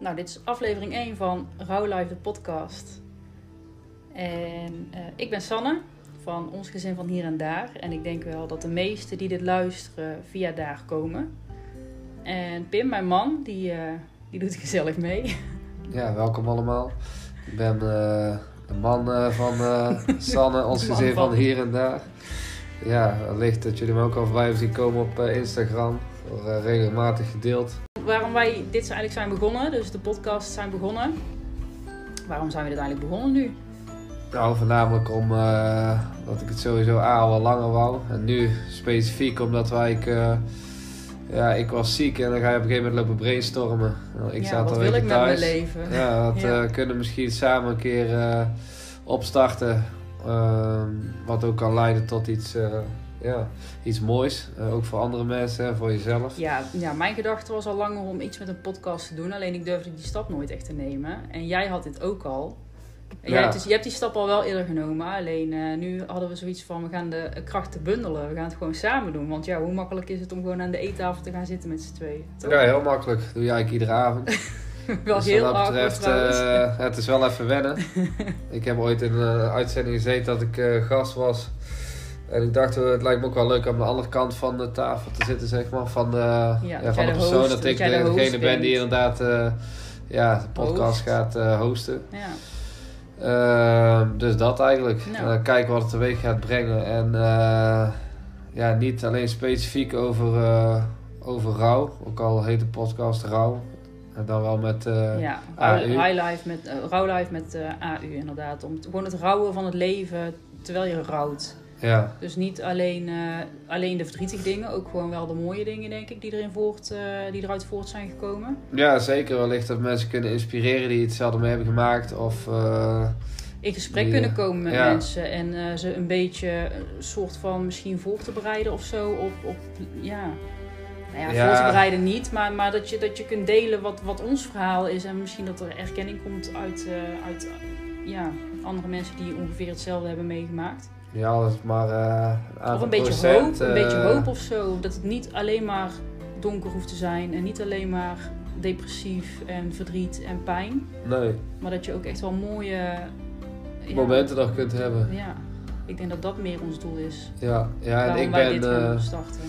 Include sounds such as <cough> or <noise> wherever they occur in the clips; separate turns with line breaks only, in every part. Nou, dit is aflevering 1 van Rauw Live, de podcast. En eh, ik ben Sanne van Ons Gezin van Hier en Daar. En ik denk wel dat de meesten die dit luisteren via daar komen. En Pim, mijn man, die, eh, die doet <laughs> gezellig mee.
Ja, welkom allemaal. Ik ben eh, de man eh, van
<laughs>
eh, Sanne, ons
De man
gezin van
van.
hier en daar. Ja, wellicht dat jullie me ook al voorbij hebben zien komen op eh, Instagram. Voor, eh, regelmatig gedeeld.
Waarom wij dit eigenlijk zijn begonnen, dus de podcast zijn begonnen. Waarom zijn we dit eigenlijk begonnen nu?
Nou, voornamelijk om eh, dat ik het sowieso A wel langer wou. En nu specifiek omdat wij... Ik, eh, ja, ik was ziek en dan ga je op een gegeven moment lopen brainstormen. Nou, Ik
Ja,
zat
wat
al
wil
weken
ik met mijn
thuis.
leven?
Ja, dat
Ja.
eh, kunnen we misschien samen een keer eh, opstarten. Ehm, wat ook kan leiden tot iets, eh, ja, iets moois. Eh, ook voor andere mensen en voor jezelf.
Ja, ja, mijn gedachte was al langer om iets met een podcast te doen. Alleen ik durfde die stap nooit echt te nemen. En jij had dit ook al. En jij
Ja.
hebt dus, je hebt die stap al wel eerder genomen. Alleen eh, nu hadden we zoiets van, we gaan de krachten bundelen. We gaan het gewoon samen doen. Want ja, hoe makkelijk is het om gewoon aan de eettafel te gaan zitten met z'n tweeën? Toch? <laughs>
Ja, heel makkelijk. Doe je eigenlijk iedere avond.
wel
Dus
heel
wat dat
awkward
betreft,
trouwens.
eh, het is wel even
<laughs>
wennen. ik heb ooit in een eh, uitzending gezeten dat ik eh, gast was. En ik dacht, eh, het lijkt me ook wel leuk om aan de andere kant van de tafel te zitten, zeg maar. Van de, ja,
dat
van
jij
de
de
persoon,
host-
dat
dat
ik
jij de
de-
host
degene ben
bent.
die inderdaad eh, ja, de podcast
Host.
gaat eh, hosten.
Ja.
Ehm, dus dat eigenlijk.
Nou.
En dan kijken wat het teweeg gaat brengen. En eh, ja, niet alleen specifiek over, eh, over rouw. Ook al heet de podcast Rouw. En dan wel met... eh,
ja,
AU.
rouwlife met, eh, rouwlife met eh, AU inderdaad. Om t- gewoon het rouwen van het leven terwijl je rouwt.
ja.
Dus niet alleen, eh, alleen de verdrietige dingen, ook gewoon wel de mooie dingen, denk ik, die, erin voort, eh, die eruit voort zijn gekomen.
ja, zeker. Wellicht dat mensen kunnen inspireren die hetzelfde mee hebben gemaakt. Of eh,
In gesprek
Die, eh,
kunnen komen met
ja.
mensen en eh, ze een beetje een soort van misschien voor te bereiden of zo. Op, op, ja. Nou ja,
Ja.
voor te bereiden niet, maar, maar dat, je, dat je kunt delen wat, wat ons verhaal is en misschien dat er erkenning komt uit, eh, uit eh, ja, andere mensen die ongeveer hetzelfde hebben meegemaakt.
ja, alles maar eh, een aantal
Of een beetje hoop,
procent,
een
eh,
beetje hoop of zo. Dat het niet alleen maar donker hoeft te zijn en niet alleen maar depressief en verdriet en pijn.
Nee,
Maar dat je ook echt wel mooie ja,
momenten nog kunt hebben.
Ja, ik denk dat dat meer ons doel is.
Ja, ja en
Waarom
ik
wij
ben...
dit gaan
eh,
starten.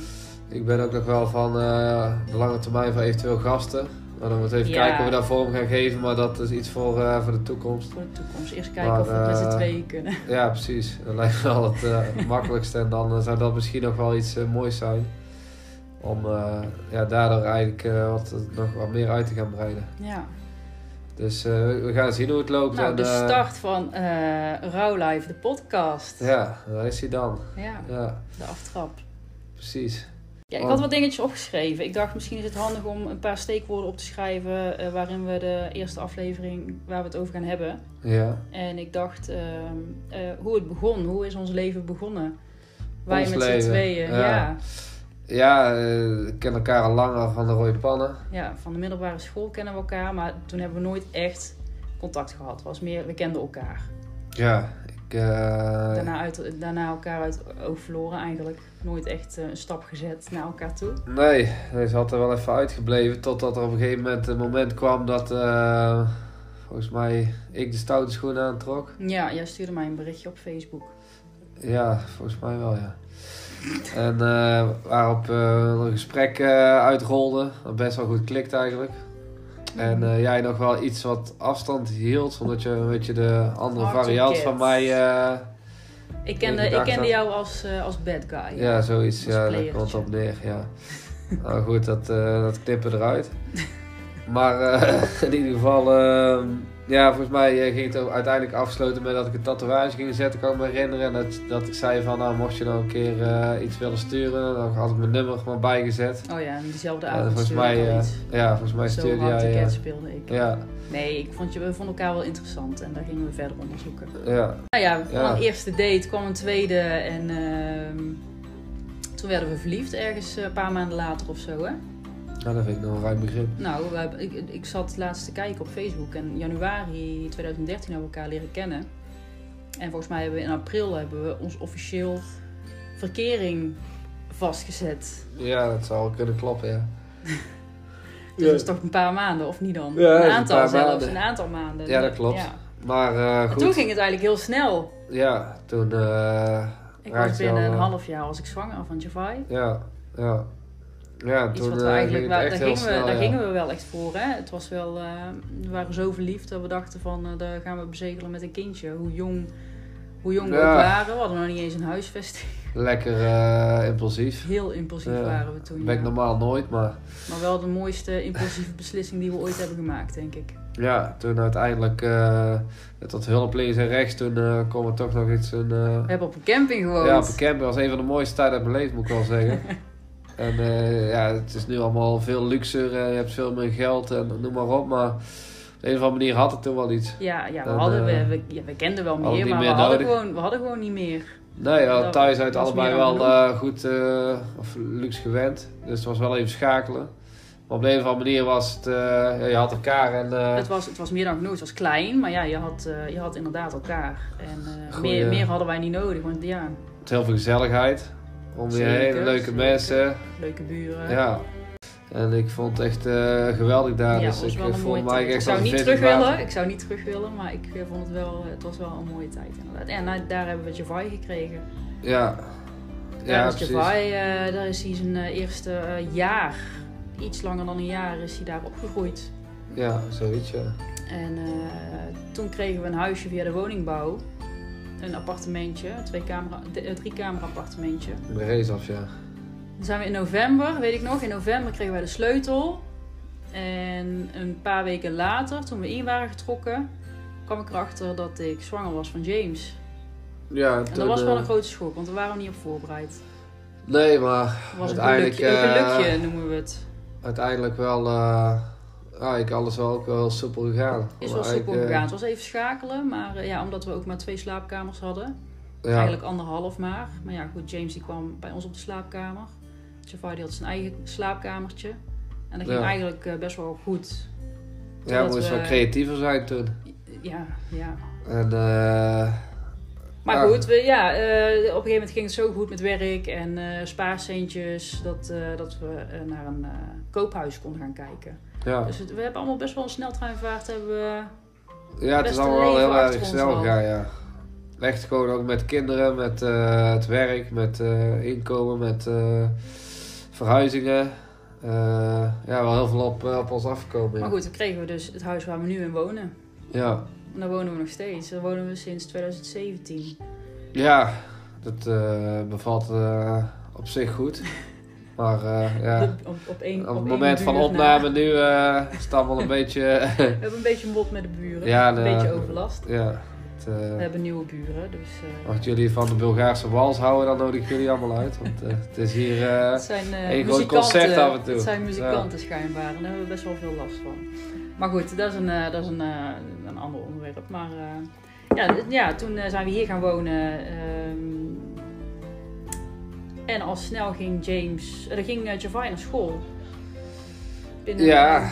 Ik ben ook nog wel van eh, de lange termijn van eventueel gasten. Maar dan moeten we even
Ja.
kijken hoe we daar vorm gaan geven. Maar dat is iets voor, eh, voor de toekomst.
Voor de toekomst. Eerst kijken
Maar,
of we het met z'n
eh,
tweeën kunnen. <laughs>
Ja, precies. Dat lijkt me wel het eh, makkelijkste. En dan eh, zou dat misschien nog wel iets eh, moois zijn. Om eh, ja, daardoor eigenlijk eh, wat, nog wat meer uit te gaan breiden.
Ja.
Dus eh, we gaan zien hoe het loopt.
Nou,
en,
de
eh,
start van eh Rauwlife, de podcast.
ja, daar is hij dan.
ja,
Ja,
de aftrap.
precies.
Ja, ik
Oh.
had wat dingetjes opgeschreven. Ik dacht misschien is het handig om een paar steekwoorden op te schrijven eh, waarin we de eerste aflevering waar we het over gaan hebben.
Ja.
En ik dacht ehm, eh, hoe het begon, hoe is ons leven begonnen? Wij
Ons
met z'n
leven,
tweeën, ja.
ja.
Ja.
Ja, eh, we kennen elkaar al langer van de rode pannen.
van de middelbare school kennen we elkaar, maar toen hebben we nooit echt contact gehad. Het Was meer, we kenden elkaar.
Ja, ik... eh,
Daarna, uit, daarna elkaar uit oog verloren eigenlijk. Nooit echt eh, een stap gezet naar elkaar toe.
Nee, nee, ze had er wel even uitgebleven totdat er op een gegeven moment een moment kwam dat eh, volgens mij ik de stoute schoenen aantrok.
Ja, jij stuurde mij een berichtje op Facebook.
Ja, volgens mij wel, ja. En eh, waarop eh, een gesprek eh, uitrolde, dat best wel goed klikt eigenlijk. En eh, jij nog wel iets wat afstand hield, omdat je een beetje de andere
Hard to
variant
get.
van mij... eh,
Ik kende,
Ik
ik
dacht
kende
dat-
jou als, eh, als bad guy.
Ja, zoiets.
Als
Ja, daar
playertje.
komt het op neer, ja.
<laughs>
nou goed, dat, eh, dat knippen we eruit. Maar eh, in ieder geval, eh, ja, volgens mij eh, ging het ook uiteindelijk afsluiten met dat ik een tatoeage ging zetten, kan ik me herinneren. En dat, dat ik zei van, nou mocht je nou een keer eh, iets willen sturen, dan had ik mijn nummer maar bijgezet.
Oh ja, en diezelfde
En
avond
volgens
stuurde
mij,
ik al
eh,
iets.
ja, volgens mij
Zo
stuurde
hard
jij...
de
eh,
cat speelde ik.
ja,
Nee, ik vond je, we vonden elkaar wel interessant en daar gingen we verder onderzoeken.
ja,
Nou ja, van
Ja.
een eerste date kwam een tweede en ehm, toen werden we verliefd ergens eh, een paar maanden later of zo hè.
nou, dat vind ik nog een ruim begrip.
Nou, we hebben- ik, ik zat laatst te kijken op Facebook en januari 2013 hebben we elkaar leren kennen. En volgens mij hebben we in april hebben we ons officieel verkering vastgezet. <laughs>
Ja, dat zou wel kunnen kloppen, ja.
Dus
Ja.
dat is toch een paar maanden, of niet dan?
Ja, dat is
een
een
aantal
paar
zelfs,
maanden.
een aantal maanden.
Ja, dat klopt. Maar eh,
En
goed,
toen ging het eigenlijk heel snel.
ja, toen eh,
Ik
Raakt
was binnen
jou,
een
eh,
half jaar was ik zwanger van Javai.
Ja, ja. Ja,
Iets
toen
wat we
eh,
eigenlijk
ging
wel-
het echt
daar, gingen,
heel snel,
we, daar
ja.
gingen we wel echt voor. Hè? Het was wel, eh, we waren zo verliefd dat we dachten van eh, daar gaan we bezegelen met een kindje. Hoe jong, hoe jong we
Ja.
ook waren. We hadden nog niet eens een huisvesting.
Lekker eh,
<laughs>
impulsief.
Heel impulsief
Ja.
waren we toen.
Ben ik
Oh, ja.
normaal nooit, maar
Maar wel de mooiste impulsieve beslissing die we ooit hebben gemaakt, denk ik.
ja, toen uiteindelijk eh met wat hulp links en rechts, toen eh kwam er toch nog iets. Een, eh,
We hebben op een camping gewoond.
ja, op een camping was een van de mooiste tijden uit mijn leven, moet ik wel
<laughs>
zeggen. en eh, ja, het is nu allemaal veel luxer, en je hebt veel meer geld en noem maar op, maar op de een of andere manier had het toen wel iets.
Ja, ja, we,
Dan,
hadden, we,
eh,
we- ja, we kenden wel
hadden we
meer,
niet
maar
meer
we, hadden
nodig.
gewoon, we hadden gewoon niet meer.
Nou ja,
Dat
thuis uit
was
allebei
meer dan
wel eh, goed eh, of luxe gewend. Dus het was wel even schakelen. Maar op de een of andere manier was het... eh, ja, je had elkaar en... eh,
Het was, het was meer dan genoeg. Het was klein, maar ja, je had, eh, je had inderdaad elkaar. En eh,
Goeie-
meer, meer hadden wij niet nodig, want ja,
met heel veel gezelligheid. Om je
Zeker,
heen, leuke
zeker.
mensen.
leuke buren.
Ja. En ik vond het echt eh, geweldig daar.
Ja,
dus
was
ik
wel een mooie
voelde mij
tijd.
echt
Ik zou
als een
niet
vis
terug
in het
willen,
water.
ik zou niet terug willen, maar ik eh, vond het wel, het was wel een mooie tijd inderdaad. En nou, daar hebben we Javai gekregen.
Ja.
Ja,
Ja,
dus
precies.
Javai, eh, daar is hij zijn eh, eerste eh, jaar, iets langer dan een jaar, is hij daar opgegroeid.
Ja, zoiets ja.
En eh, toen kregen we een huisje via de woningbouw. Een appartementje, een twee camera, de- een drie kamer appartementje.
De race af, ja.
Dan zijn we in november, weet ik nog, in november kregen wij de sleutel. En een paar weken later, toen we in waren getrokken, kwam ik erachter dat ik zwanger was van James.
Ja,
En
toen,
dat was wel
eh,
een grote schok, want we waren er niet op voorbereid.
Nee, maar
Het was een
Uiteindelijk,
gelukje, een
eh,
gelukje noemen we het.
uiteindelijk wel, eh eigenlijk alles wel ook wel heel soepel gegaan.
Is
Maar
wel soepel
eigenlijk, eh,
gegaan. Het was even schakelen, maar eh, ja, omdat we ook maar twee slaapkamers hadden.
ja,
Eigenlijk anderhalf maar. Maar ja, goed, James die kwam bij ons op de slaapkamer. Jafar die had zijn eigen slaapkamertje. En dat ging
Ja.
eigenlijk eh, best wel goed.
ja, we
dat
moesten
we-
wel creatiever zijn toen.
Ja, ja.
En eh,
Maar
Ja.
goed, we, ja, eh, op een gegeven moment ging het zo goed met werk en eh spaarcentjes... dat, eh, dat we eh, naar een eh, koophuis konden gaan kijken.
ja,
Dus het- we hebben allemaal best wel een sneltreinvaart hebben we...
ja, het is
beste
allemaal wel heel
leven
erg
achter ons
snel
al.
gegaan, ja. Echt gewoon ook met kinderen, met eh, het werk, met eh, inkomen, met eh, verhuizingen. Eh, ja, wel heel veel op, eh, op ons afgekomen.
Maar
Ja.
goed, dan kregen we dus het huis waar we nu in wonen.
ja,
En daar wonen we nog steeds. Daar wonen we sinds 2017.
ja dat eh, bevalt eh, op zich
<laughs>
goed. Maar eh, ja,
Op, op, op één,
op het
één
moment van
duur na.
opname nu eh is het allemaal een <laughs> beetje...
We hebben een beetje een bot met de buren.
Ja,
een
de-
beetje overlast.
ja, het, eh,
We hebben nieuwe buren, dus eh,
Als jullie van de Bulgaarse wals houden, dan nodig ik jullie allemaal uit. Want eh, het is hier. eh,
het zijn eh,
één groot
muzikanten.
concert af en toe.
Het zijn muzikanten schijnbaar en daar hebben we best wel veel last van. Maar goed, dat is een, eh, dat is een, eh, een ander onderwerp. Maar eh, ja, d- ja, toen eh, zijn we hier gaan wonen. ehm, en al snel ging James, er ging eh, Javai naar school. Binnen
ja.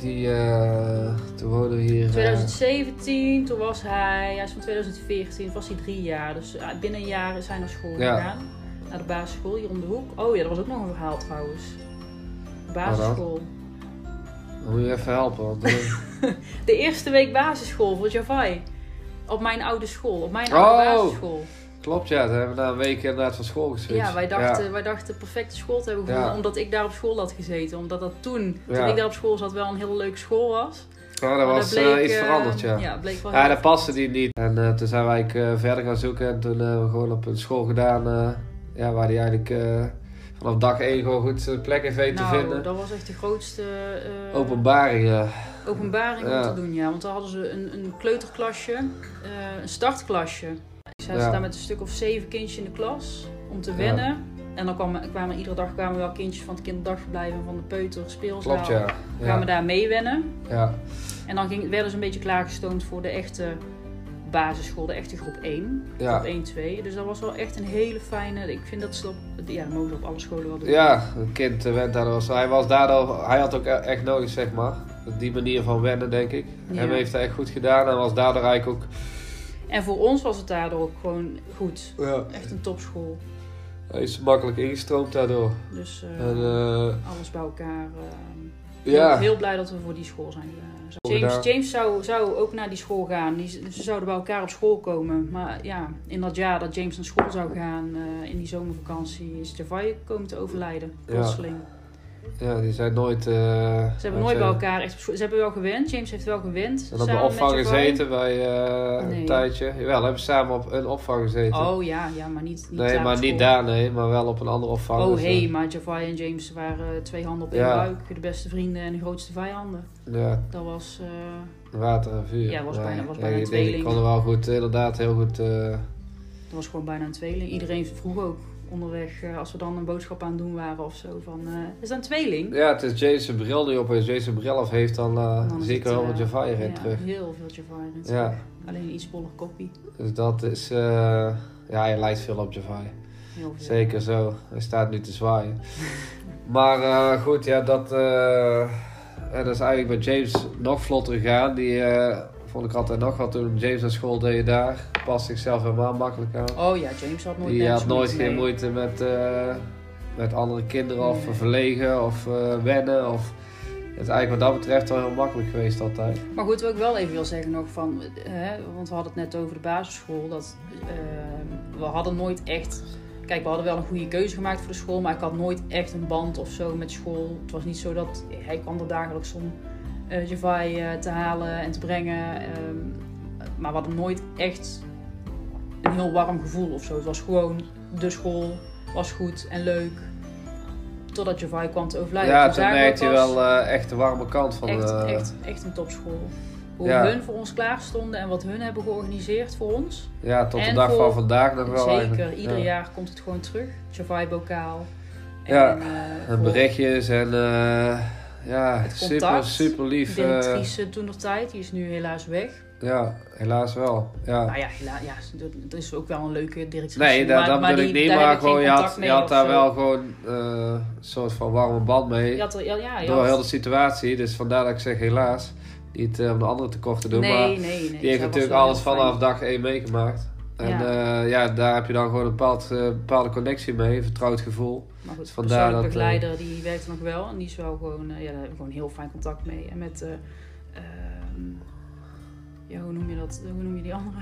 Die. eh toen wonen we hier. eh,
2017, toen was hij, hij is van 2014, toen was hij drie jaar. Dus eh, binnen een jaar is hij naar school
Ja.
gegaan. Naar de basisschool hier om de hoek. Oh ja, dat was ook nog een verhaal trouwens. De basisschool.
dan moet je even helpen. Want, eh, <laughs>
De eerste week basisschool voor Javai. Op mijn oude school, op mijn
Oh.
oude basisschool.
klopt, ja. Toen hebben we na een week inderdaad van school geswitcht.
Ja, wij dachten, wij dachten perfecte school te hebben gevonden,
Ja.
omdat ik daar op school had gezeten. Omdat dat toen, toen
Ja.
ik daar op school zat, wel een hele leuke school was.
Ja, dat
Maar
was
bleek,
eh, iets
eh,
veranderd, ja.
Ja, bleek wel
Ja,
heel-
dat paste die niet. En eh, toen zijn wij eh, verder gaan zoeken. En toen eh, hebben we gewoon op een school gedaan. eh, ja, waar die eigenlijk eh, vanaf dag één gewoon goed zijn plek in weet te
nou,
vinden.
dat was echt de grootste... eh,
Openbaringen.
openbaring
Ja.
om te doen, ja. Want daar hadden ze een, een kleuterklasje, eh, een startklasje. Zij
Ja.
zaten daar met een stuk of zeven kindjes in de klas om te
Ja.
wennen. En dan kwamen, kwamen iedere dag kwamen wel kindjes van het kinderdagverblijf en van de peuter speelzaal.
Klopt, ja.
Kwamen
Ja.
daar mee wennen.
ja.
En dan ging, werden ze een beetje klaargestoomd voor de echte basisschool, de echte groep 1.
ja.
Groep 1, 2. Dus dat was wel echt een hele fijne... Ik vind dat ze dat... Ja, dat mogen ze op alle scholen wel doen.
Ja, een kind eh, went daardoor. zo. Hij, was daardoor, hij had ook e- echt nodig, zeg maar. Die manier van wennen, denk ik.
Ja.
Hem heeft hij echt goed gedaan en was daardoor eigenlijk ook...
En voor ons was het daardoor ook gewoon goed.
Ja,
Echt een topschool.
hij is makkelijk ingestroomd daardoor.
Dus... eh,
En, eh,
alles bij elkaar. eh, Ja.
Ja.
heel blij dat we voor die school zijn gegaan. Zo-
Goed
James,
gedaan.
James zou, zou ook naar die school gaan. Die, z- ze zouden bij elkaar op school komen. Maar ja, in dat jaar dat James naar school zou gaan, eh, in die zomervakantie, is Javai komen te overlijden.
Ja.
Plotseling.
Ja, die zijn nooit... eh,
Ze hebben nooit bij elkaar echt op school. Ze hebben wel gewend. James heeft wel gewend.
En op de
samen met
opvang
Javai.
gezeten bij eh,
Nee.
een tijdje. Jawel, hebben ze samen op een opvang gezeten.
Oh ja, ja maar niet, niet
nee,
op
maar
school.
niet daar, nee. Maar wel op een andere opvang.
Oh
Dus, eh,
hey, maar Javai en James waren eh, twee handen op één
Ja.
buik. De beste vrienden en de grootste vijanden.
Ja,
Dat was... eh,
water en vuur.
Ja, was bijna- was
ja,
bijna
die- Die
tweeling.
konden wel goed, inderdaad, heel goed... eh,
Het was gewoon bijna een tweeling. Iedereen vroeg ook onderweg, eh, als we dan een boodschap aan het doen waren of zo, van eh, is dat een tweeling?
Ja, het is Jason Bril die op Jason Bril af heeft, dan eh,
Dan is
zie ik
het,
wel
eh,
wat Javai erin
ja,
terug.
Heel veel Javai erin
Ja.
terug. Alleen een iets boller koppie.
Dus dat is... eh, ja, hij lijkt veel op Javai.
Heel veel.
Zeker zo. Hij staat nu te
<laughs>
zwaaien. maar eh, goed, ja, dat, eh, ja, dat is eigenlijk bij James nog vlotter gegaan. Die eh, vond ik altijd nog wat toen James naar school deed daar. Past zichzelf helemaal makkelijk aan.
Oh ja, James had nooit
Die
nergens
had nooit geen
mee.
moeite met, eh, met andere kinderen of
Nee.
verlegen of eh, wennen. Of... Het is eigenlijk wat dat betreft wel heel makkelijk geweest altijd.
Maar goed, wat ik wel even wil zeggen nog van, eh, hè, want we hadden het net over de basisschool, dat eh, we hadden nooit echt, kijk we hadden wel een goede keuze gemaakt voor de school, maar ik had nooit echt een band of zo met school. Het was niet zo dat, hij kwam er dagelijks om eh Javai eh, te halen en te brengen, ehm, maar we hadden nooit echt een heel warm gevoel of zo. Het was gewoon, de school was goed en leuk, totdat Javai kwam te overlijden.
ja,
Toen
toen
zagen we
merkte je
pas-
wel eh, echt de warme kant van...
echt,
eh,
echt, echt een topschool. Hoe
ja.
hun voor ons klaar stonden en wat hun hebben georganiseerd voor ons.
ja, tot de
en
dag
voor-
van vandaag nog wel
Zeker,
eigenlijk.
ieder
Ja.
jaar komt het gewoon terug. Javai-bokaal.
Ja,
eh,
En
voor
berichtjes en eh, ja, super,
contact,
super lief. eh,
Directrice toen nog tijd, die is nu helaas weg.
ja, helaas wel. Ja.
Nou ja, helaas, ja, dat is ook wel een leuke directrice.
Nee, dat,
maar-
dat
maar
bedoel
die-
ik niet,
daar heb
maar
ik
gewoon,
geen
je had,
contact mee
je had
of
daar
zo.
wel gewoon eh, een soort van warme band mee.
Je had er- ja, ja, je
door
had-
heel de situatie, dus vandaar dat ik zeg helaas. Niet eh, om de anderen tekort te doen,
nee,
maar
nee, nee,
die heeft
zij was
natuurlijk
wel
alles
heel fijn.
vanaf dag 1 meegemaakt. En ja. ja, daar heb je dan gewoon een bepaald, eh, bepaalde connectie mee, een vertrouwd gevoel.
Maar goed, de
Vandaar
persoonlijk
dat, eh,
begeleider die werkt nog wel. En die is wel gewoon, eh, ja, daar heb ik gewoon heel fijn contact mee. En met, eh, ehm, ja, hoe noem je dat? Hoe noem je die andere?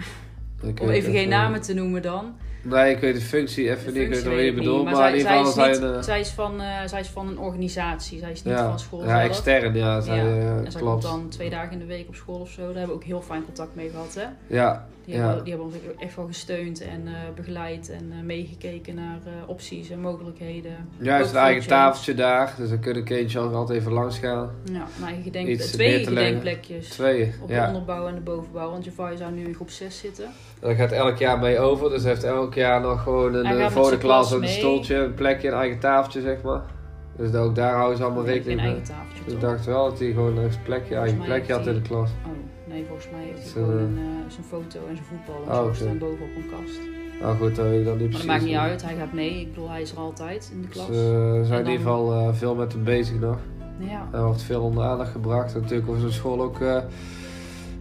Ik
Om
weet
even geen
eh,
namen te noemen dan.
Nee, ik weet de functie even niet, ik weet
functie weet
niet wat je
ik niet,
bedoelt, maar, in
zij,
ieder
zij,
geval
is
zijn...
niet-
eh,
zij, is van, eh, zij is van een organisatie. Zij is niet van school
ja
zelf.
extern, ja, zij,
Ja,
eh,
en zij
klopt.
komt dan twee dagen in de week op school of zo. Daar hebben we ook heel fijn contact mee gehad. Hè?
Ja,
Die,
Ja.
hebben, die hebben ons ook echt wel gesteund en eh, begeleid en eh, meegekeken naar eh, opties en mogelijkheden.
juist
Ook
een eigen
voor
tafeltje daar, dus dan kunnen een kindje ook altijd even langs gaan.
Ja, een eigen gedenk,
Iets neer
twee
te leggen.
gedenkplekjes.
Twee,
Op de
ja.
onderbouw en de bovenbouw. Want Javai zou nu in groep 6 zitten.
En dat gaat elk jaar mee over, dus hij heeft elk jaar nog gewoon
Hij
een
gaat
eh,
met
voor de
zijn
klas
klas
een
mee.
stoeltje, een plekje, een eigen tafeltje, zeg maar. Dus daar- ook daar houden ze allemaal
Die heeft
rekening
geen
mee.
eigen tafeltje
Dus ik
toch?
dacht wel dat hij gewoon een plekje, eigen
mij heeft
plekje had in
hij-
de klas.
Oh, nee, volgens mij heeft hij
Zijn,
gewoon een, eh, zijn foto en zijn voetbal. En
Oh,
zo
oké.
staan boven op een kast. Maar
Nou goed, dat weet ik dan niet
dat
precies.
maakt niet
maar-
uit. Hij gaat mee. Ik bedoel, hij is er altijd in de
Dus,
klas.
eh, we zijn
En
in ieder
dan-
geval eh, veel met hem bezig nog.
Nou ja.
Er wordt veel onder aandacht gebracht. En natuurlijk over zo'n school ook, eh,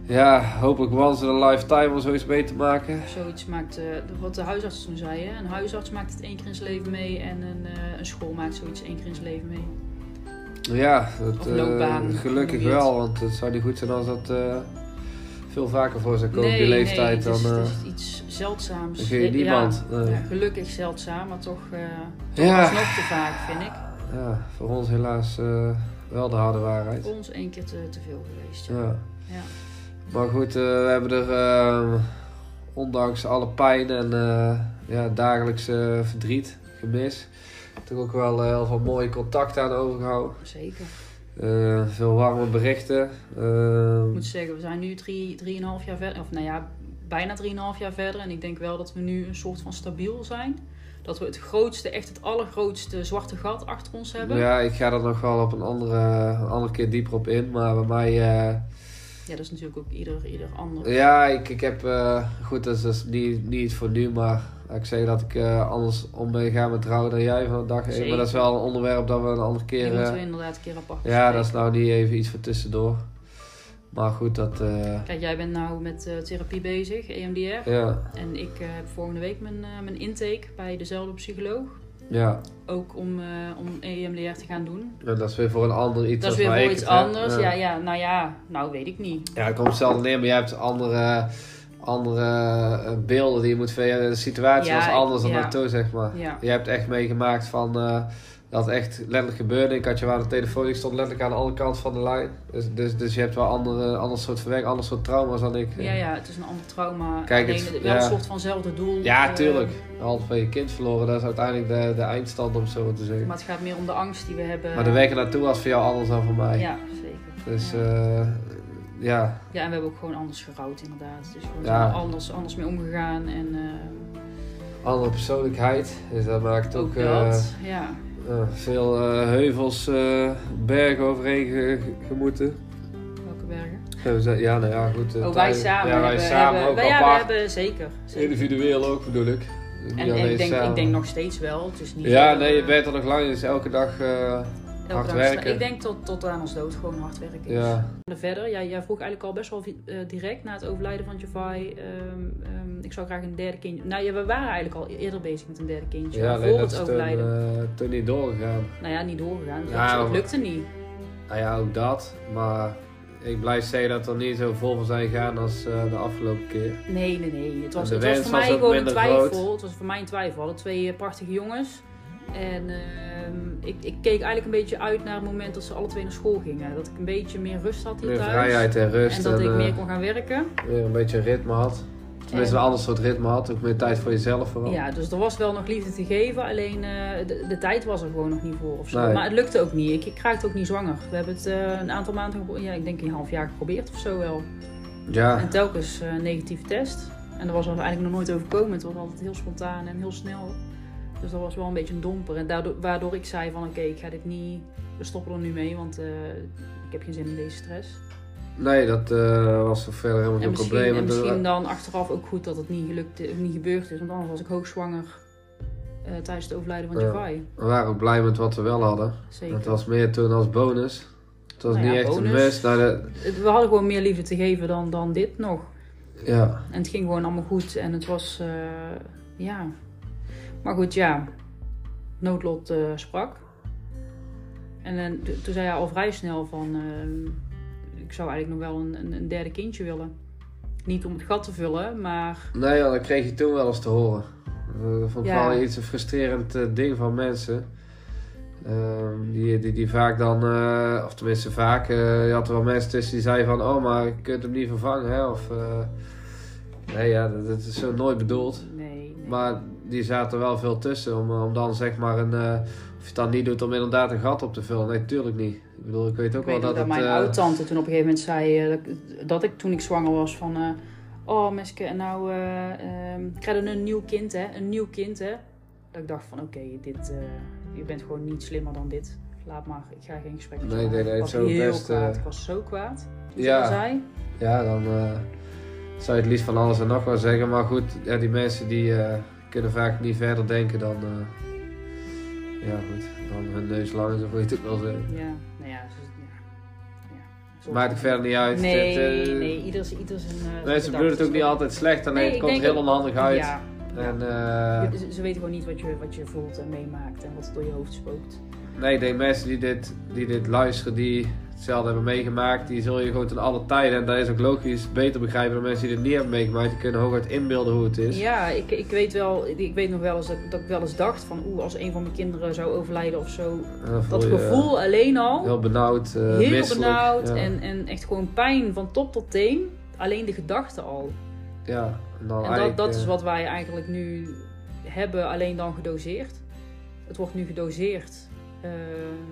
ja, hopelijk once in a lifetime om zoiets mee te maken.
Zoiets maakt, eh, wat de huisarts toen zei, hè? een huisarts maakt het één keer in zijn leven mee en een, eh, een school maakt zoiets één keer in zijn leven mee.
Ja, dat,
Of loopbaan,
eh, gelukkig
hoe je het-
wel, want het zou niet goed zijn als dat eh, veel vaker voor zou komen op
nee,
je leeftijd.
nee, het is,
dan eh,
het is iets zeldzaams. Eh,
dan gun je eh.
Ja,
niemand.
Ja,
Nee.
gelukkig zeldzaam, maar toch, eh toch
Ja.
alsnog te vaak, vind ik.
ja, voor ons helaas eh, wel de harde waarheid.
Voor ons één keer te, te veel geweest. Ja.
Ja.
Ja.
Maar goed, eh, we hebben er eh, ondanks alle pijn en eh, ja, dagelijkse eh, verdriet, gemis, toch ook wel eh, heel veel mooie contacten aan overgehouden.
Zeker.
Eh, veel warme berichten. Eh,
Ik moet zeggen, we zijn nu drie, drieënhalf jaar verder. Of nou ja, bijna drieënhalf jaar verder. En ik denk wel dat we nu een soort van stabiel zijn. Dat we het grootste, echt het allergrootste zwarte gat achter ons hebben. Ja,
ja, ik ga er nog wel op een andere, een andere keer dieper op in. Maar bij mij... eh,
dat is natuurlijk ook ieder, ieder ander.
ja, ik, ik heb... eh, goed, dat is, dat is niet, niet voor nu. Maar laat ik zeggen dat ik eh, anders om ben gaan met trouwen dan jij van de dag één. Maar dat is wel een onderwerp dat we een andere
Die
keer... eh,
moeten we inderdaad een keer apart
ja, dat is
bespreken.
nou niet even iets voor tussendoor. Maar goed, dat... eh,
Kijk, jij bent nou met eh, therapie bezig, EMDR.
ja,
En ik eh, heb volgende week mijn, eh, mijn intake bij dezelfde psycholoog.
Ja,
Ook om, eh, om EMDR te gaan doen.
Ja, dat is weer voor een ander iets.
Dat is
als
weer
waar
voor
ik
iets
het heb.
anders. Ja, ja, nou ja, nou weet ik niet.
Ja, het komt hetzelfde neer, maar jij hebt andere, andere eh, beelden die je moet verwerken. De situatie
Ja,
was anders
ik-
dan
ja.
naartoe, zeg maar.
Ja.
Jij hebt echt meegemaakt van eh, dat het echt letterlijk gebeurde. Ik had je aan de telefoon, ik stond letterlijk aan de andere kant van de lijn. Dus, dus, dus je hebt wel andere, ander soort verwerking, ander soort trauma's dan ik. eh,
Ja, ja, het is een ander trauma.
Kijk,
Alleen,
het-
wel
ja.
een soort vanzelfde doel.
Ja,
eh,
tuurlijk. Een half van je kind verloren, dat is uiteindelijk de, de eindstand om het zo maar te zeggen.
Maar het gaat meer om de angst die we hebben.
Maar de weg naartoe was voor jou anders dan voor mij.
Ja, zeker.
Dus
ja.
eh, ja,
Ja, en we hebben ook gewoon anders gerouwd inderdaad. Dus gewoon
Ja.
anders, anders mee omgegaan. En eh,
andere persoonlijkheid. Dus dat maakt ook,
ook
eh,
dat. Ja.
eh, veel eh, heuvels, eh, bergen overheen ge- ge- gemoeten.
Welke bergen?
Ja, we zijn- Ja, nou ja, goed. eh,
Oh, wij
tijdens-
samen.
Ja, wij
hebben,
samen
hebben,
ook
wij- ja, we
apart.
hebben zeker. zeker.
Individueel ook bedoel ik. Niet
En, en
alleen
ik, denk,
samen.
ik denk nog steeds wel. Het is niet
Ja,
zo,
nee, je
eh,
bent er nog lang, dus elke dag. eh,
elke
hard
dag-
werken.
Ik denk tot, tot aan ons dood gewoon hard werken.
ja.
En Verder, ja, jij vroeg eigenlijk al best wel vi- eh, direct na het overlijden van Javai. ehm, ehm, ik zou graag een derde kindje. Nou ja, we waren eigenlijk al eerder bezig met een derde kindje.
Ja,
al
alleen
voor
dat
het
is toen,
overlijden.
eh, toen niet doorgegaan.
Nou ja, niet doorgegaan. Het
Ja,
lukte-
maar-
lukte niet.
Nou ja, ook dat. Maar ik blijf zeggen dat er niet zo vol van zijn gegaan als eh, de afgelopen keer.
Nee, nee, nee. Het was,
De
het was
wens
voor
was
mij
ook
gewoon een
minder
twijfel.
groot.
Het was voor mij een twijfel. We hadden twee eh, prachtige jongens. En ehm, ik, ik keek eigenlijk een beetje uit naar het moment dat ze alle twee naar school gingen. Dat ik een beetje meer rust had hier
Meer
thuis.
vrijheid en rust.
En dat ik
eh,
meer kon gaan werken.
weer een beetje ritme had. Tenminste,
En-
een ander soort ritme had. Ook meer tijd voor jezelf vooral.
Ja, dus er was wel nog liefde te geven, alleen eh, de, de tijd was er gewoon nog niet voor of zo.
Nee.
Maar het lukte ook niet. Ik, ik raakte ook niet zwanger. We hebben het eh, een aantal maanden, gepro- ja, ik denk een half jaar geprobeerd of zo wel.
Ja,
En telkens eh negatieve test. En dat was ons eigenlijk nog nooit overkomen. Het was altijd heel spontaan en heel snel. Dus dat was wel een beetje een domper. En daardoor, waardoor ik zei van oké, ik ga dit niet, we stoppen er nu mee, want eh, ik heb geen zin in deze stress.
nee, dat eh, was voor verder helemaal
En
geen
misschien,
probleem.
en
Want, eh,
misschien dan achteraf ook goed dat het niet, gelukt, of niet gebeurd is, want anders was ik hoogzwanger eh tijdens het overlijden van
Ja.
Javai.
eh, We waren ook blij met wat we wel hadden.
Zeker.
Het was meer toen als bonus. Het was
Nou
niet
ja,
echt een
bonus.
mes. Nou, de-
Het- We hadden gewoon meer liefde te geven dan, dan dit nog.
ja.
En het ging gewoon allemaal goed en het was, eh, ja. Maar goed, ja. Noodlot eh, sprak. En eh, t- toen zei hij al vrij snel van, eh, ik zou eigenlijk nog wel een, een, een derde kindje willen. Niet om het gat te vullen, maar
Nee, Nou ja, dat kreeg je toen wel eens te horen. Eh, Dat vond ik
Ja.
wel iets een frustrerend eh, ding van mensen. Ehm, die, die, die vaak dan, eh, of tenminste vaak, eh, je had er wel mensen tussen die zeiden van, oh maar je kunt hem niet vervangen hè, of... eh, nee ja, dat, dat is zo nooit bedoeld.
eh, nee. nee.
Maar die zaten wel veel tussen. Om, om dan zeg maar een. eh, of je het dan niet doet om inderdaad een gat op te vullen. Nee, tuurlijk niet. Ik bedoel, ik weet ook
ik
wel
weet
dat
dat,
het.
mijn
eh,
oud-tante toen op een gegeven moment zei eh, dat, ik- dat ik toen ik zwanger was van... eh, oh, meske, en nou eh ehm, ik krijg je een nieuw kind, hè? Een nieuw kind, hè? Dat ik dacht van, oké, dit... eh, je bent gewoon niet slimmer dan dit. Laat maar, ik ga geen gesprek met je
Nee,
aan.
nee, nee,
Ik
het
was
is ook
heel
best, eh,
kwaad. Ik was zo kwaad. Wat ik al
ja,
zei.
ja, dan eh, zou je het liefst van alles en nog wel zeggen. Maar goed, ja, die mensen die eh, kunnen vaak niet verder denken dan. eh, ja, goed. Dan hun neus lang is, of hoe je het ook wel zeggen.
Ja, nou ja. Dus, ja. ja. Zo-
Maakt het verder niet uit.
Nee,
Het, eh,
nee, ieder is ieder zijn... eh, gedachte
Mensen bedoelen het
is
ook niet
wel-
altijd slecht, alleen
Nee,
het
ik
komt
denk
heel
ook-
onhandig uit.
Ja,
En, eh,
ze, ze weten gewoon niet wat je, wat je voelt en meemaakt en wat er door je hoofd spookt.
Nee, ik denk mensen die dit, die dit luisteren, die hetzelfde hebben meegemaakt, die zul je gewoon ten alle tijden, en dat is ook logisch, beter begrijpen dan mensen die dit niet hebben meegemaakt. Die kunnen hooguit inbeelden hoe het is.
Ja, ik, ik weet wel, ik weet nog wel eens dat, dat ik wel eens dacht van oeh, als een van mijn kinderen zou overlijden of zo.
En dan voel
Dat
je, eh,
gevoel alleen al,
Heel benauwd, eh,
heel
misselijk.
benauwd
Ja.
en, en echt gewoon pijn van top tot teen. Alleen de gedachte al.
ja, en dan
En dat,
eigenlijk,
dat is
eh,
wat wij eigenlijk nu hebben, alleen dan gedoseerd. Het wordt nu gedoseerd. Eh, in,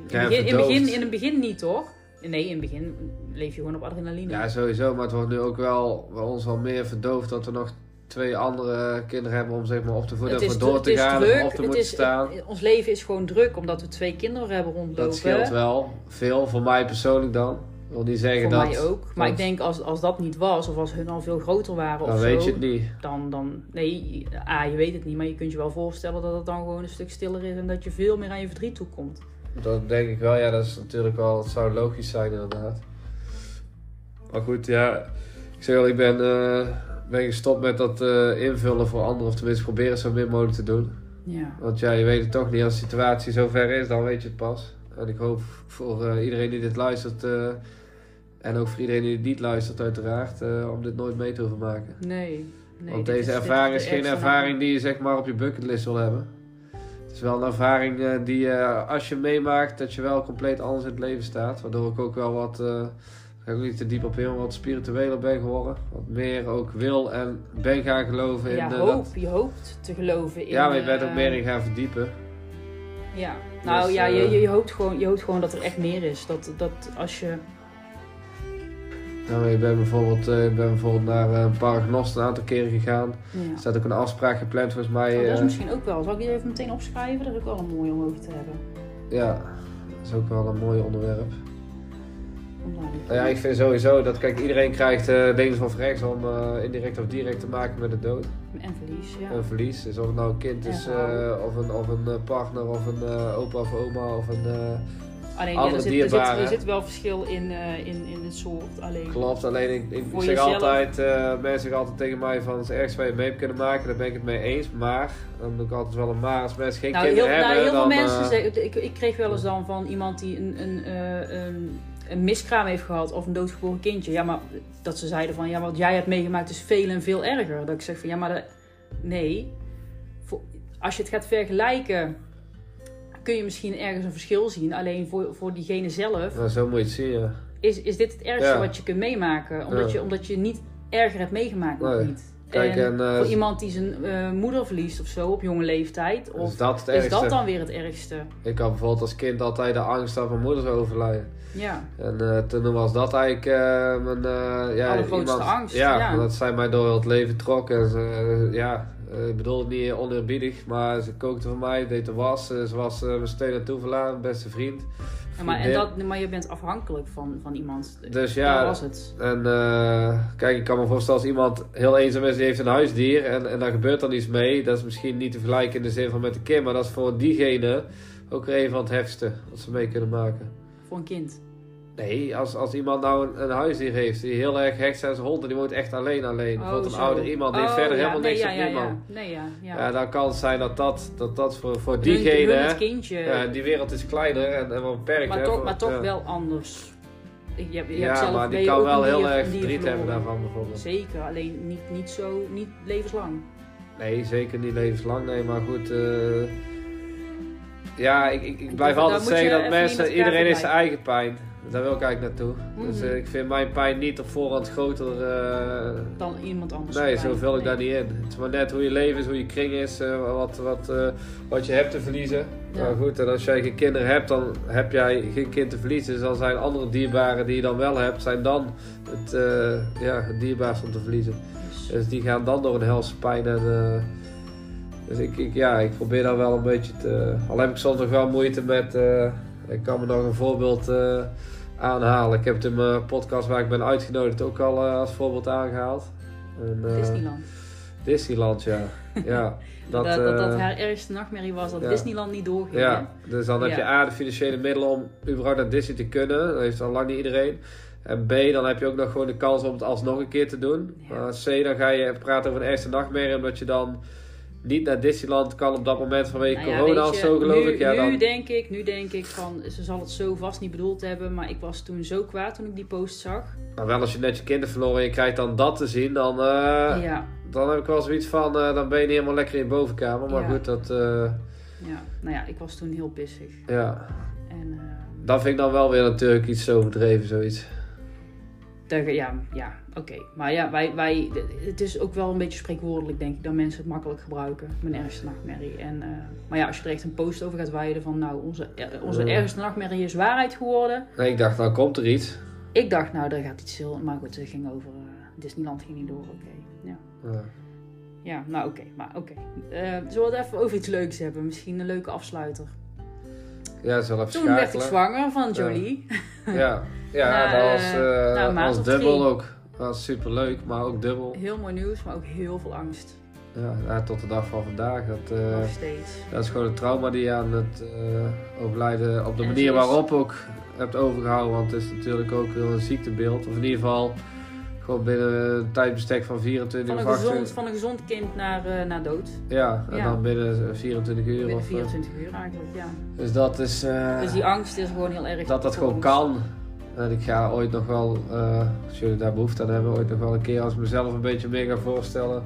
Ja,
het begin, in, het begin,
verdoofd.
in het begin niet toch? Nee, in het begin leef je gewoon op adrenaline.
Ja, sowieso, maar het wordt nu ook wel bij ons al meer verdoofd dat we nog twee andere kinderen hebben om zeg maar op te voeden,
het
of
is,
voor
dru-
door
het
te
is
gaan,
druk.
of op te
het
moeten
is,
staan.
het- ons leven is gewoon druk omdat we twee kinderen hebben rondlopen.
Dat scheelt wel veel, voor mij persoonlijk dan. Ik wil niet zeggen
Voor
dat...
mij ook. Maar
dat-
ik denk als, als dat niet was, of als hun al veel groter waren of
Dan Nou, weet
zo,
je het niet.
dan, dan. Nee, A, je weet het niet, maar je kunt je wel voorstellen dat het dan gewoon een stuk stiller is en dat je veel meer aan je verdriet toekomt.
Dat denk ik wel, ja, dat is natuurlijk wel, het zou logisch zijn inderdaad. Maar goed, ja, ik zeg wel, ik ben, eh, ben gestopt met dat eh, invullen voor anderen, of tenminste proberen zo min mogelijk te doen.
Ja.
Want ja, je weet het toch niet. Als de situatie zo ver is, dan weet je het pas. En ik hoop voor eh, iedereen die dit luistert... eh, en ook voor iedereen die dit niet luistert uiteraard... eh, om dit nooit mee te hoeven maken.
Nee. nee
Want
dit
deze
dit
ervaring
de
is geen
ergste
ervaring die je zeg maar op je bucketlist wil hebben. Het is wel een ervaring eh, die eh, als je meemaakt dat je wel compleet anders in het leven staat. Waardoor ik ook wel wat, eh, daar ga ik ook niet te diep op in, maar wat spiritueler ben geworden. Wat meer ook wil en ben gaan geloven in
Ja,
eh,
hoop.
dat.
Je hoopt te geloven in...
Ja, maar je bent ook
eh,
meer in gaan verdiepen.
Ja. Nou
Dus,
ja, je,
eh,
je, je hoopt gewoon, je hoopt gewoon dat er echt meer is. Dat, dat als je...
Nou, ik ben bijvoorbeeld, eh, ik ben bijvoorbeeld naar eh, een paragnost een aantal keren gegaan.
Ja.
Er staat ook een afspraak gepland volgens mij.
Oh, dat is
eh,
misschien ook wel. Zal ik die even meteen opschrijven? Dat is ook wel een mooi om over te hebben.
ja, dat is ook wel een mooi onderwerp.
Om daar even-
Nou ja, ik vind sowieso dat, kijk, iedereen krijgt eh links of rechts om eh, indirect of direct te maken met de dood.
En verlies, ja.
Een verlies. Dus of het nou een kind is,
Ja.
eh, of, een, of een eh, partner, of een eh, opa of oma, of een... eh,
Alleen, ja,
andere
er, zit, er, zit, er
dierbaren.
zit wel verschil in, eh, in, in het soort. Alleen,
klopt, alleen ik, ik
Voor
zeg
jezelf.
altijd, eh, mensen zeggen altijd tegen mij van, het is ergens waar je mee hebt kunnen maken, daar ben ik het mee eens. Maar, dan doe ik altijd wel een maar, als mensen geen
nou, heel,
kinderen
nou,
hebben,
heel veel
dan...
mensen
eh,
zeggen... Ik, ik kreeg wel eens dan van iemand die een, een, eh, een, een miskraam heeft gehad of een doodgeboren kindje. Ja, maar dat ze zeiden van, ja, wat jij hebt meegemaakt is veel en veel erger. Dat ik zeg van, ja, maar dat- nee. Voor- als je het gaat vergelijken, kun je misschien ergens een verschil zien. Alleen voor, voor diegene zelf
nou, zo moet je het zien, ja.
is, is dit het ergste
Ja.
wat je kunt meemaken. Omdat,
Ja.
je, omdat je niet erger hebt meegemaakt nog
Nee.
niet.
Kijk, en, eh,
voor iemand die zijn eh, moeder verliest of zo op jonge leeftijd. Of
is dat het
is
ergste?
dat dan weer het ergste?
Ik had bijvoorbeeld als kind altijd de angst dat mijn moeder zou overlijden.
Ja,
En eh, toen was dat eigenlijk eh, mijn... eh ja,
Allergrootste angst,
Ja,
ja.
dat zij mij door het leven trok. En ze, eh, ja, eh, ik bedoel het niet oneerbiedig, maar ze kookte voor mij, deed de was. eh, ze was eh, mijn steun en toeverlaat, mijn beste vriend.
Ja, maar, en
Vriendin.
dat, maar je bent afhankelijk van, van iemand.
Dus
Dat
ja,
was het.
en eh, kijk, ik kan me voorstellen als iemand heel eenzaam is, die heeft een huisdier en, en daar gebeurt dan iets mee. Dat is misschien niet te vergelijken in de zin van met de kind, maar dat is voor diegene ook weer een van het heftigste wat ze mee kunnen maken.
Voor een kind.
Nee, als, als iemand nou een, een huisdier heeft die heel erg hecht is aan zijn hond en die woont echt alleen alleen. Bijvoorbeeld een
Oh, zo.
ouder iemand die heeft
Oh,
verder
ja,
helemaal
nee,
niks
ja,
op
ja,
iemand.
Ja, nee, ja. ja.
Ja. dan kan het zijn dat dat, dat, dat voor, voor
Hun-
diegene...
hun het
hè,
kindje.
ja, die wereld is kleiner en, en wat beperkt.
maar,
hè,
toch,
voor-
maar toch
ja.
wel anders. Ik- Je, je hebt
Ja,
zelf
maar
ben
die
je
kan
ook
wel
een dier-
heel
een
erg
dier
verdriet hebben
verloren.
daarvan bijvoorbeeld.
Zeker, alleen niet, niet zo, niet levenslang.
Nee, zeker niet levenslang. Nee, maar goed... eh, ja, ik, ik, ik
Ik
blijf
denk,
altijd
daar moet je
zeggen
even
dat
niet met
mensen...
elkaar
Iedereen heeft
vergelijken.
zijn eigen pijn. Daar wil ik eigenlijk naartoe. Dus
Mhm.
eh, ik vind mijn pijn niet op voorhand groter... eh,
Dan iemand anders.
Nee,
erbij.
zo vul
Nee.
ik daar niet in. Het is maar net hoe je leven is, hoe je kring is, eh, wat, wat, eh, wat je hebt te verliezen.
Ja.
Maar goed, en als jij geen kinderen hebt, dan heb jij geen kind te verliezen. Dus dan zijn andere dierbaren die je dan wel hebt, zijn dan het, eh, ja, het dierbaarste om te verliezen.
Dus-
Dus die gaan dan door een helse pijn. En, eh, dus ik, ik, ja, ik probeer daar wel een beetje te... Al heb ik soms nog wel moeite met... eh, ik kan me nog een voorbeeld eh, aanhalen. Ik heb het in mijn podcast waar ik ben uitgenodigd ook al eh, als voorbeeld aangehaald. En, eh,
Disneyland.
Disneyland, ja. ja
<laughs> Dat
dat,
dat, dat,
eh,
haar ergste nachtmerrie was dat
ja.
Disneyland niet doorging. Nou hè?
ja, dus dan heb je
Mhm. Ja.
A, de financiële middelen om überhaupt naar Disney te kunnen. Dat heeft al lang niet iedereen. En B, dan heb je ook nog gewoon de kans om het alsnog een keer te doen.
Ja.
Maar C, dan ga je praten over een eerste nachtmerrie, omdat je dan niet naar Disneyland kan op dat moment vanwege
Nou ja,
corona
weet
of
je,
zo, geloof
nu,
ik. Ja,
nu
dan,
denk ik, nu denk ik van, ze zal het zo vast niet bedoeld hebben, maar ik was toen zo kwaad toen ik die post zag.
maar wel als je net je kinderen verloren en je krijgt dan dat te zien, dan, eh,
ja,
dan heb ik wel zoiets van, eh, dan ben je niet helemaal lekker in je bovenkamer. Maar
Ja.
goed, dat, eh,
ja, nou ja, ik was toen heel pissig.
ja.
En eh,
dat vind ik dan wel weer natuurlijk iets overdreven, zoiets.
daar- ja, ja oké. Maar ja, wij, wij, het is ook wel een beetje spreekwoordelijk, denk ik, dat mensen het makkelijk gebruiken, mijn ergste nachtmerrie. En, eh, maar ja, als je er echt een post over gaat wijden van, nou, onze, eh, onze
Ja.
ergste nachtmerrie is waarheid geworden.
Nee, ik dacht, dan komt er iets.
Ik dacht, nou, daar gaat iets heel, maar goed, het ging over, eh, Disneyland ging niet door, oké. Ja.
Ja.
Ja, nou oké, maar oké. Eh, zullen we het even over iets leuks hebben? Misschien een leuke afsluiter.
Ja, zelf
Toen
schakelen.
werd ik zwanger van Jolie.
Ja, ja
Nou,
dat was,
eh,
eh,
nou, een maand
was
of
dubbel
drie.
ook. Dat was superleuk, maar ook dubbel.
Heel mooi nieuws, maar ook heel veel angst.
Ja, ja, tot de dag van vandaag. Dat, eh,
Nog steeds.
dat is gewoon een trauma die je aan het eh, overlijden op de
En
manier
zo is-
waarop ook hebt overgehouden. Want het is natuurlijk ook wel een ziektebeeld. Of in ieder geval Gewoon binnen een tijdbestek van 24
Van
of
een, gezond,
28.
van een gezond kind naar, eh, naar dood.
Ja, en
Ja.
dan binnen 24 uur.
Binnen
of, eh,
24 uur eigenlijk, ja.
Dus dat is. eh,
Dus die angst is gewoon heel erg.
dat dat
voor
gewoon
ons.
kan. En ik ga ooit nog wel, eh, als jullie daar behoefte aan hebben, ooit nog wel een keer als ik mezelf een beetje meer ga voorstellen.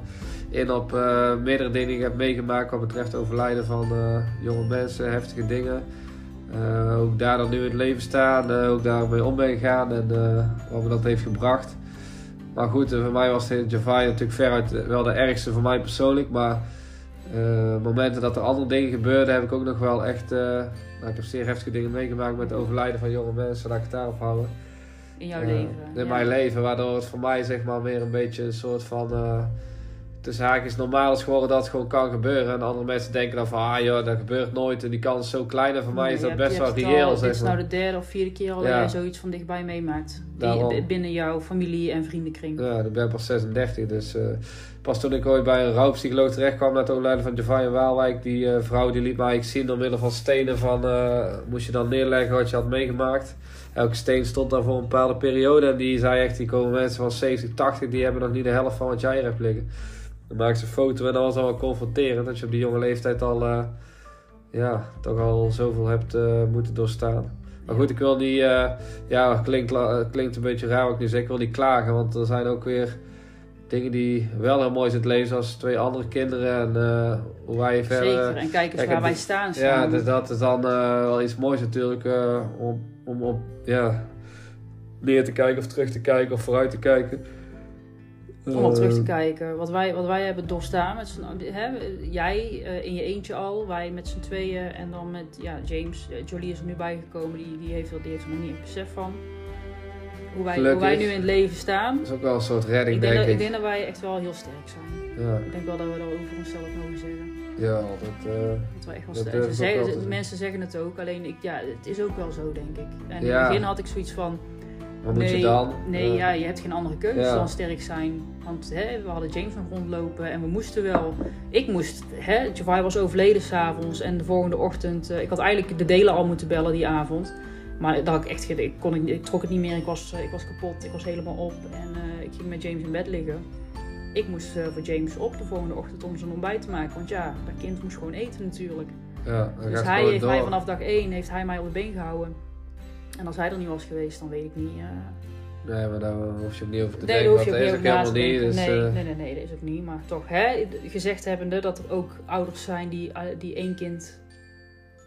In op eh, meerdere dingen die ik heb meegemaakt wat betreft overlijden van eh, jonge mensen, heftige dingen. Eh, hoe ik daar dan nu in het leven sta, en, eh, hoe ik daarmee om ben gegaan en eh, wat me dat heeft gebracht. Maar goed, eh, voor mij was de Javai natuurlijk veruit eh, wel de ergste voor mij persoonlijk. Maar eh, momenten dat er andere dingen gebeurden, heb ik ook nog wel echt. eh, nou, ik heb zeer heftige dingen meegemaakt met het overlijden van jonge mensen, laat ik het daarop houden.
In jouw
Eh,
leven.
In
ja.
mijn leven, waardoor het voor mij zeg maar weer een beetje een soort van. eh tussen haakjes normaal is geworden dat het gewoon kan gebeuren. En andere mensen denken dan van, ah joh, dat gebeurt nooit. En die kans is zo klein en voor mij
Nee,
is
je
dat
hebt-
best
je
wel
hebt het
reëel.
al- Dit
zeg
is
maar.
nou de derde of vierde keer al dat
Ja.
jij zoiets van dichtbij meemaakt. Die,
Daarom.
b- binnen jouw familie en vriendenkring.
Ja, dan ben ik pas 36. Dus eh, pas toen ik ooit bij een rouwpsycholoog terecht kwam na het overlijden van Javai Waalwijk, die eh, vrouw die liet mij eigenlijk zien door middel van stenen van eh, moest je dan neerleggen wat je had meegemaakt. Elke steen stond daar voor een bepaalde periode en die zei echt, die komen mensen van 70, 80, die hebben nog niet de helft van wat jij hier hebt liggen. Dan maakte ze een foto en dat was al wel confronterend dat je op die jonge leeftijd al, eh, ja, toch al zoveel hebt eh, moeten doorstaan. Maar goed, ik wil niet, eh, ja, het klinkt, la- het klinkt een beetje raar wat ik nu zeg. Ik wil niet klagen, want er zijn ook weer dingen die wel heel mooi zijn in het leven, zoals twee andere kinderen en eh, hoe wij verder.
Zeker. En kijk eens
eh, kijk,
waar
het
wij
is-
staan.
Ja,
samen.
dus dat is dan eh, wel iets moois natuurlijk eh, om, om op ja, neer te kijken of terug te kijken of vooruit te kijken.
Om op terug te
Eh,
kijken. Wat wij, wat wij hebben doorstaan. Met z'n- hè, jij eh, in je eentje al. Wij met z'n tweeën. En dan met ja, James. eh, Jolie is er nu bijgekomen. Die, die, heeft, er- die heeft er nog niet een besef van. Hoe wij, hoe wij
Gelukkig.
nu in het leven staan.
Dat is ook wel een soort redding,
Ik denk, dat,
denk ik.
ik denk dat wij echt wel heel sterk zijn.
Ja,
Ik denk wel dat we dat over onszelf mogen zeggen.
ja, dat, eh,
Dat we echt wel
Dat
sterk
durf
zijn.
ik
Ze zeggen-
ook wel te
de
zeggen.
mensen zeggen het ook. Alleen ik, ja, het is ook wel zo, denk ik. En in
Ja.
het begin had ik zoiets van.
wat
nee,
moet je dan?
Nee,
Eh,
ja, je hebt geen andere keuze
Ja.
dan sterk zijn. Want hè, we hadden James nog rondlopen en we moesten wel. Ik moest, hè, Javai was overleden s'avonds en de volgende ochtend. eh, ik had eigenlijk de delen al moeten bellen die avond. Maar dat had ik echt, ge- ik, kon, ik, ik trok het niet meer. Ik was, eh, ik was kapot, ik was helemaal op en eh, ik ging met James in bed liggen. Ik moest eh, voor James op de volgende ochtend om zijn ontbijt te maken. Want ja, dat kind moest gewoon eten natuurlijk.
ja, dan gaat
Dus
het
hij
gewoon
heeft
door.
mij vanaf dag één heeft hij mij op de been gehouden. En als hij er niet was geweest, dan weet ik niet. eh,
Nee, maar daar hoef je ook niet over te
Nee, daar
denken,
hoef
want
je
dat
ook niet
is ook
over na
helemaal
te
niet.
denken.
Dus,
nee,
eh,
nee, nee, nee, dat is ook niet. Maar toch, hè, gezegd hebbende dat er ook ouders zijn die, eh, die één kind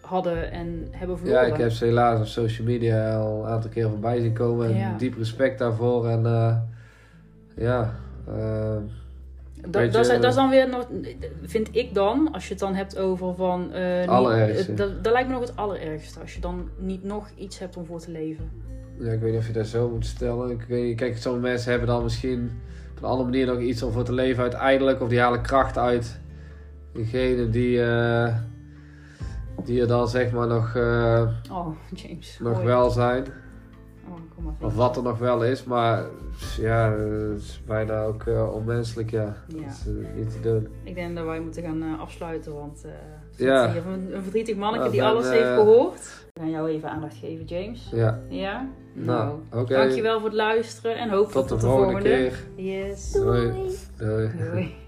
hadden en hebben
eh, Ja,
verloren.
ik heb ze helaas op social media al een aantal keer voorbij zien komen. En
Ja.
diep respect daarvoor. En eh, ja, eh,
dat,
beetje-
dat, is, dat is dan weer, nog- vind ik dan, als je het dan hebt over van... eh, niet-
Allerergste.
eh, dat, dat lijkt me nog het allerergste, als je dan niet nog iets hebt om voor te leven.
ja, ik weet niet of je dat zo moet stellen. Ik weet, niet, kijk, sommige mensen hebben dan misschien op een andere manier nog iets om voor te leven uiteindelijk. Of die halen kracht uit degene die, eh, die er dan zeg maar nog, eh,
Oh, <laughs> James.
nog
hoi.
wel zijn.
Oh, kom maar.
Of wat er nog wel is. Maar ja, het is bijna ook eh, onmenselijk. Ja.
Ja.
Dat is eh, niet te doen.
Ik denk dat wij moeten gaan eh, afsluiten, want eh
Ja.
ja. een, een verdrietig manneke
Nou,
die
dan,
alles
eh,
heeft gehoord. We gaan jou even aandacht geven, James.
Ja,
Ja?
nou, oké.
Dankjewel voor het luisteren en hopelijk
Tot de volgende keer.
Yes.
Doei. Doei.
Doei.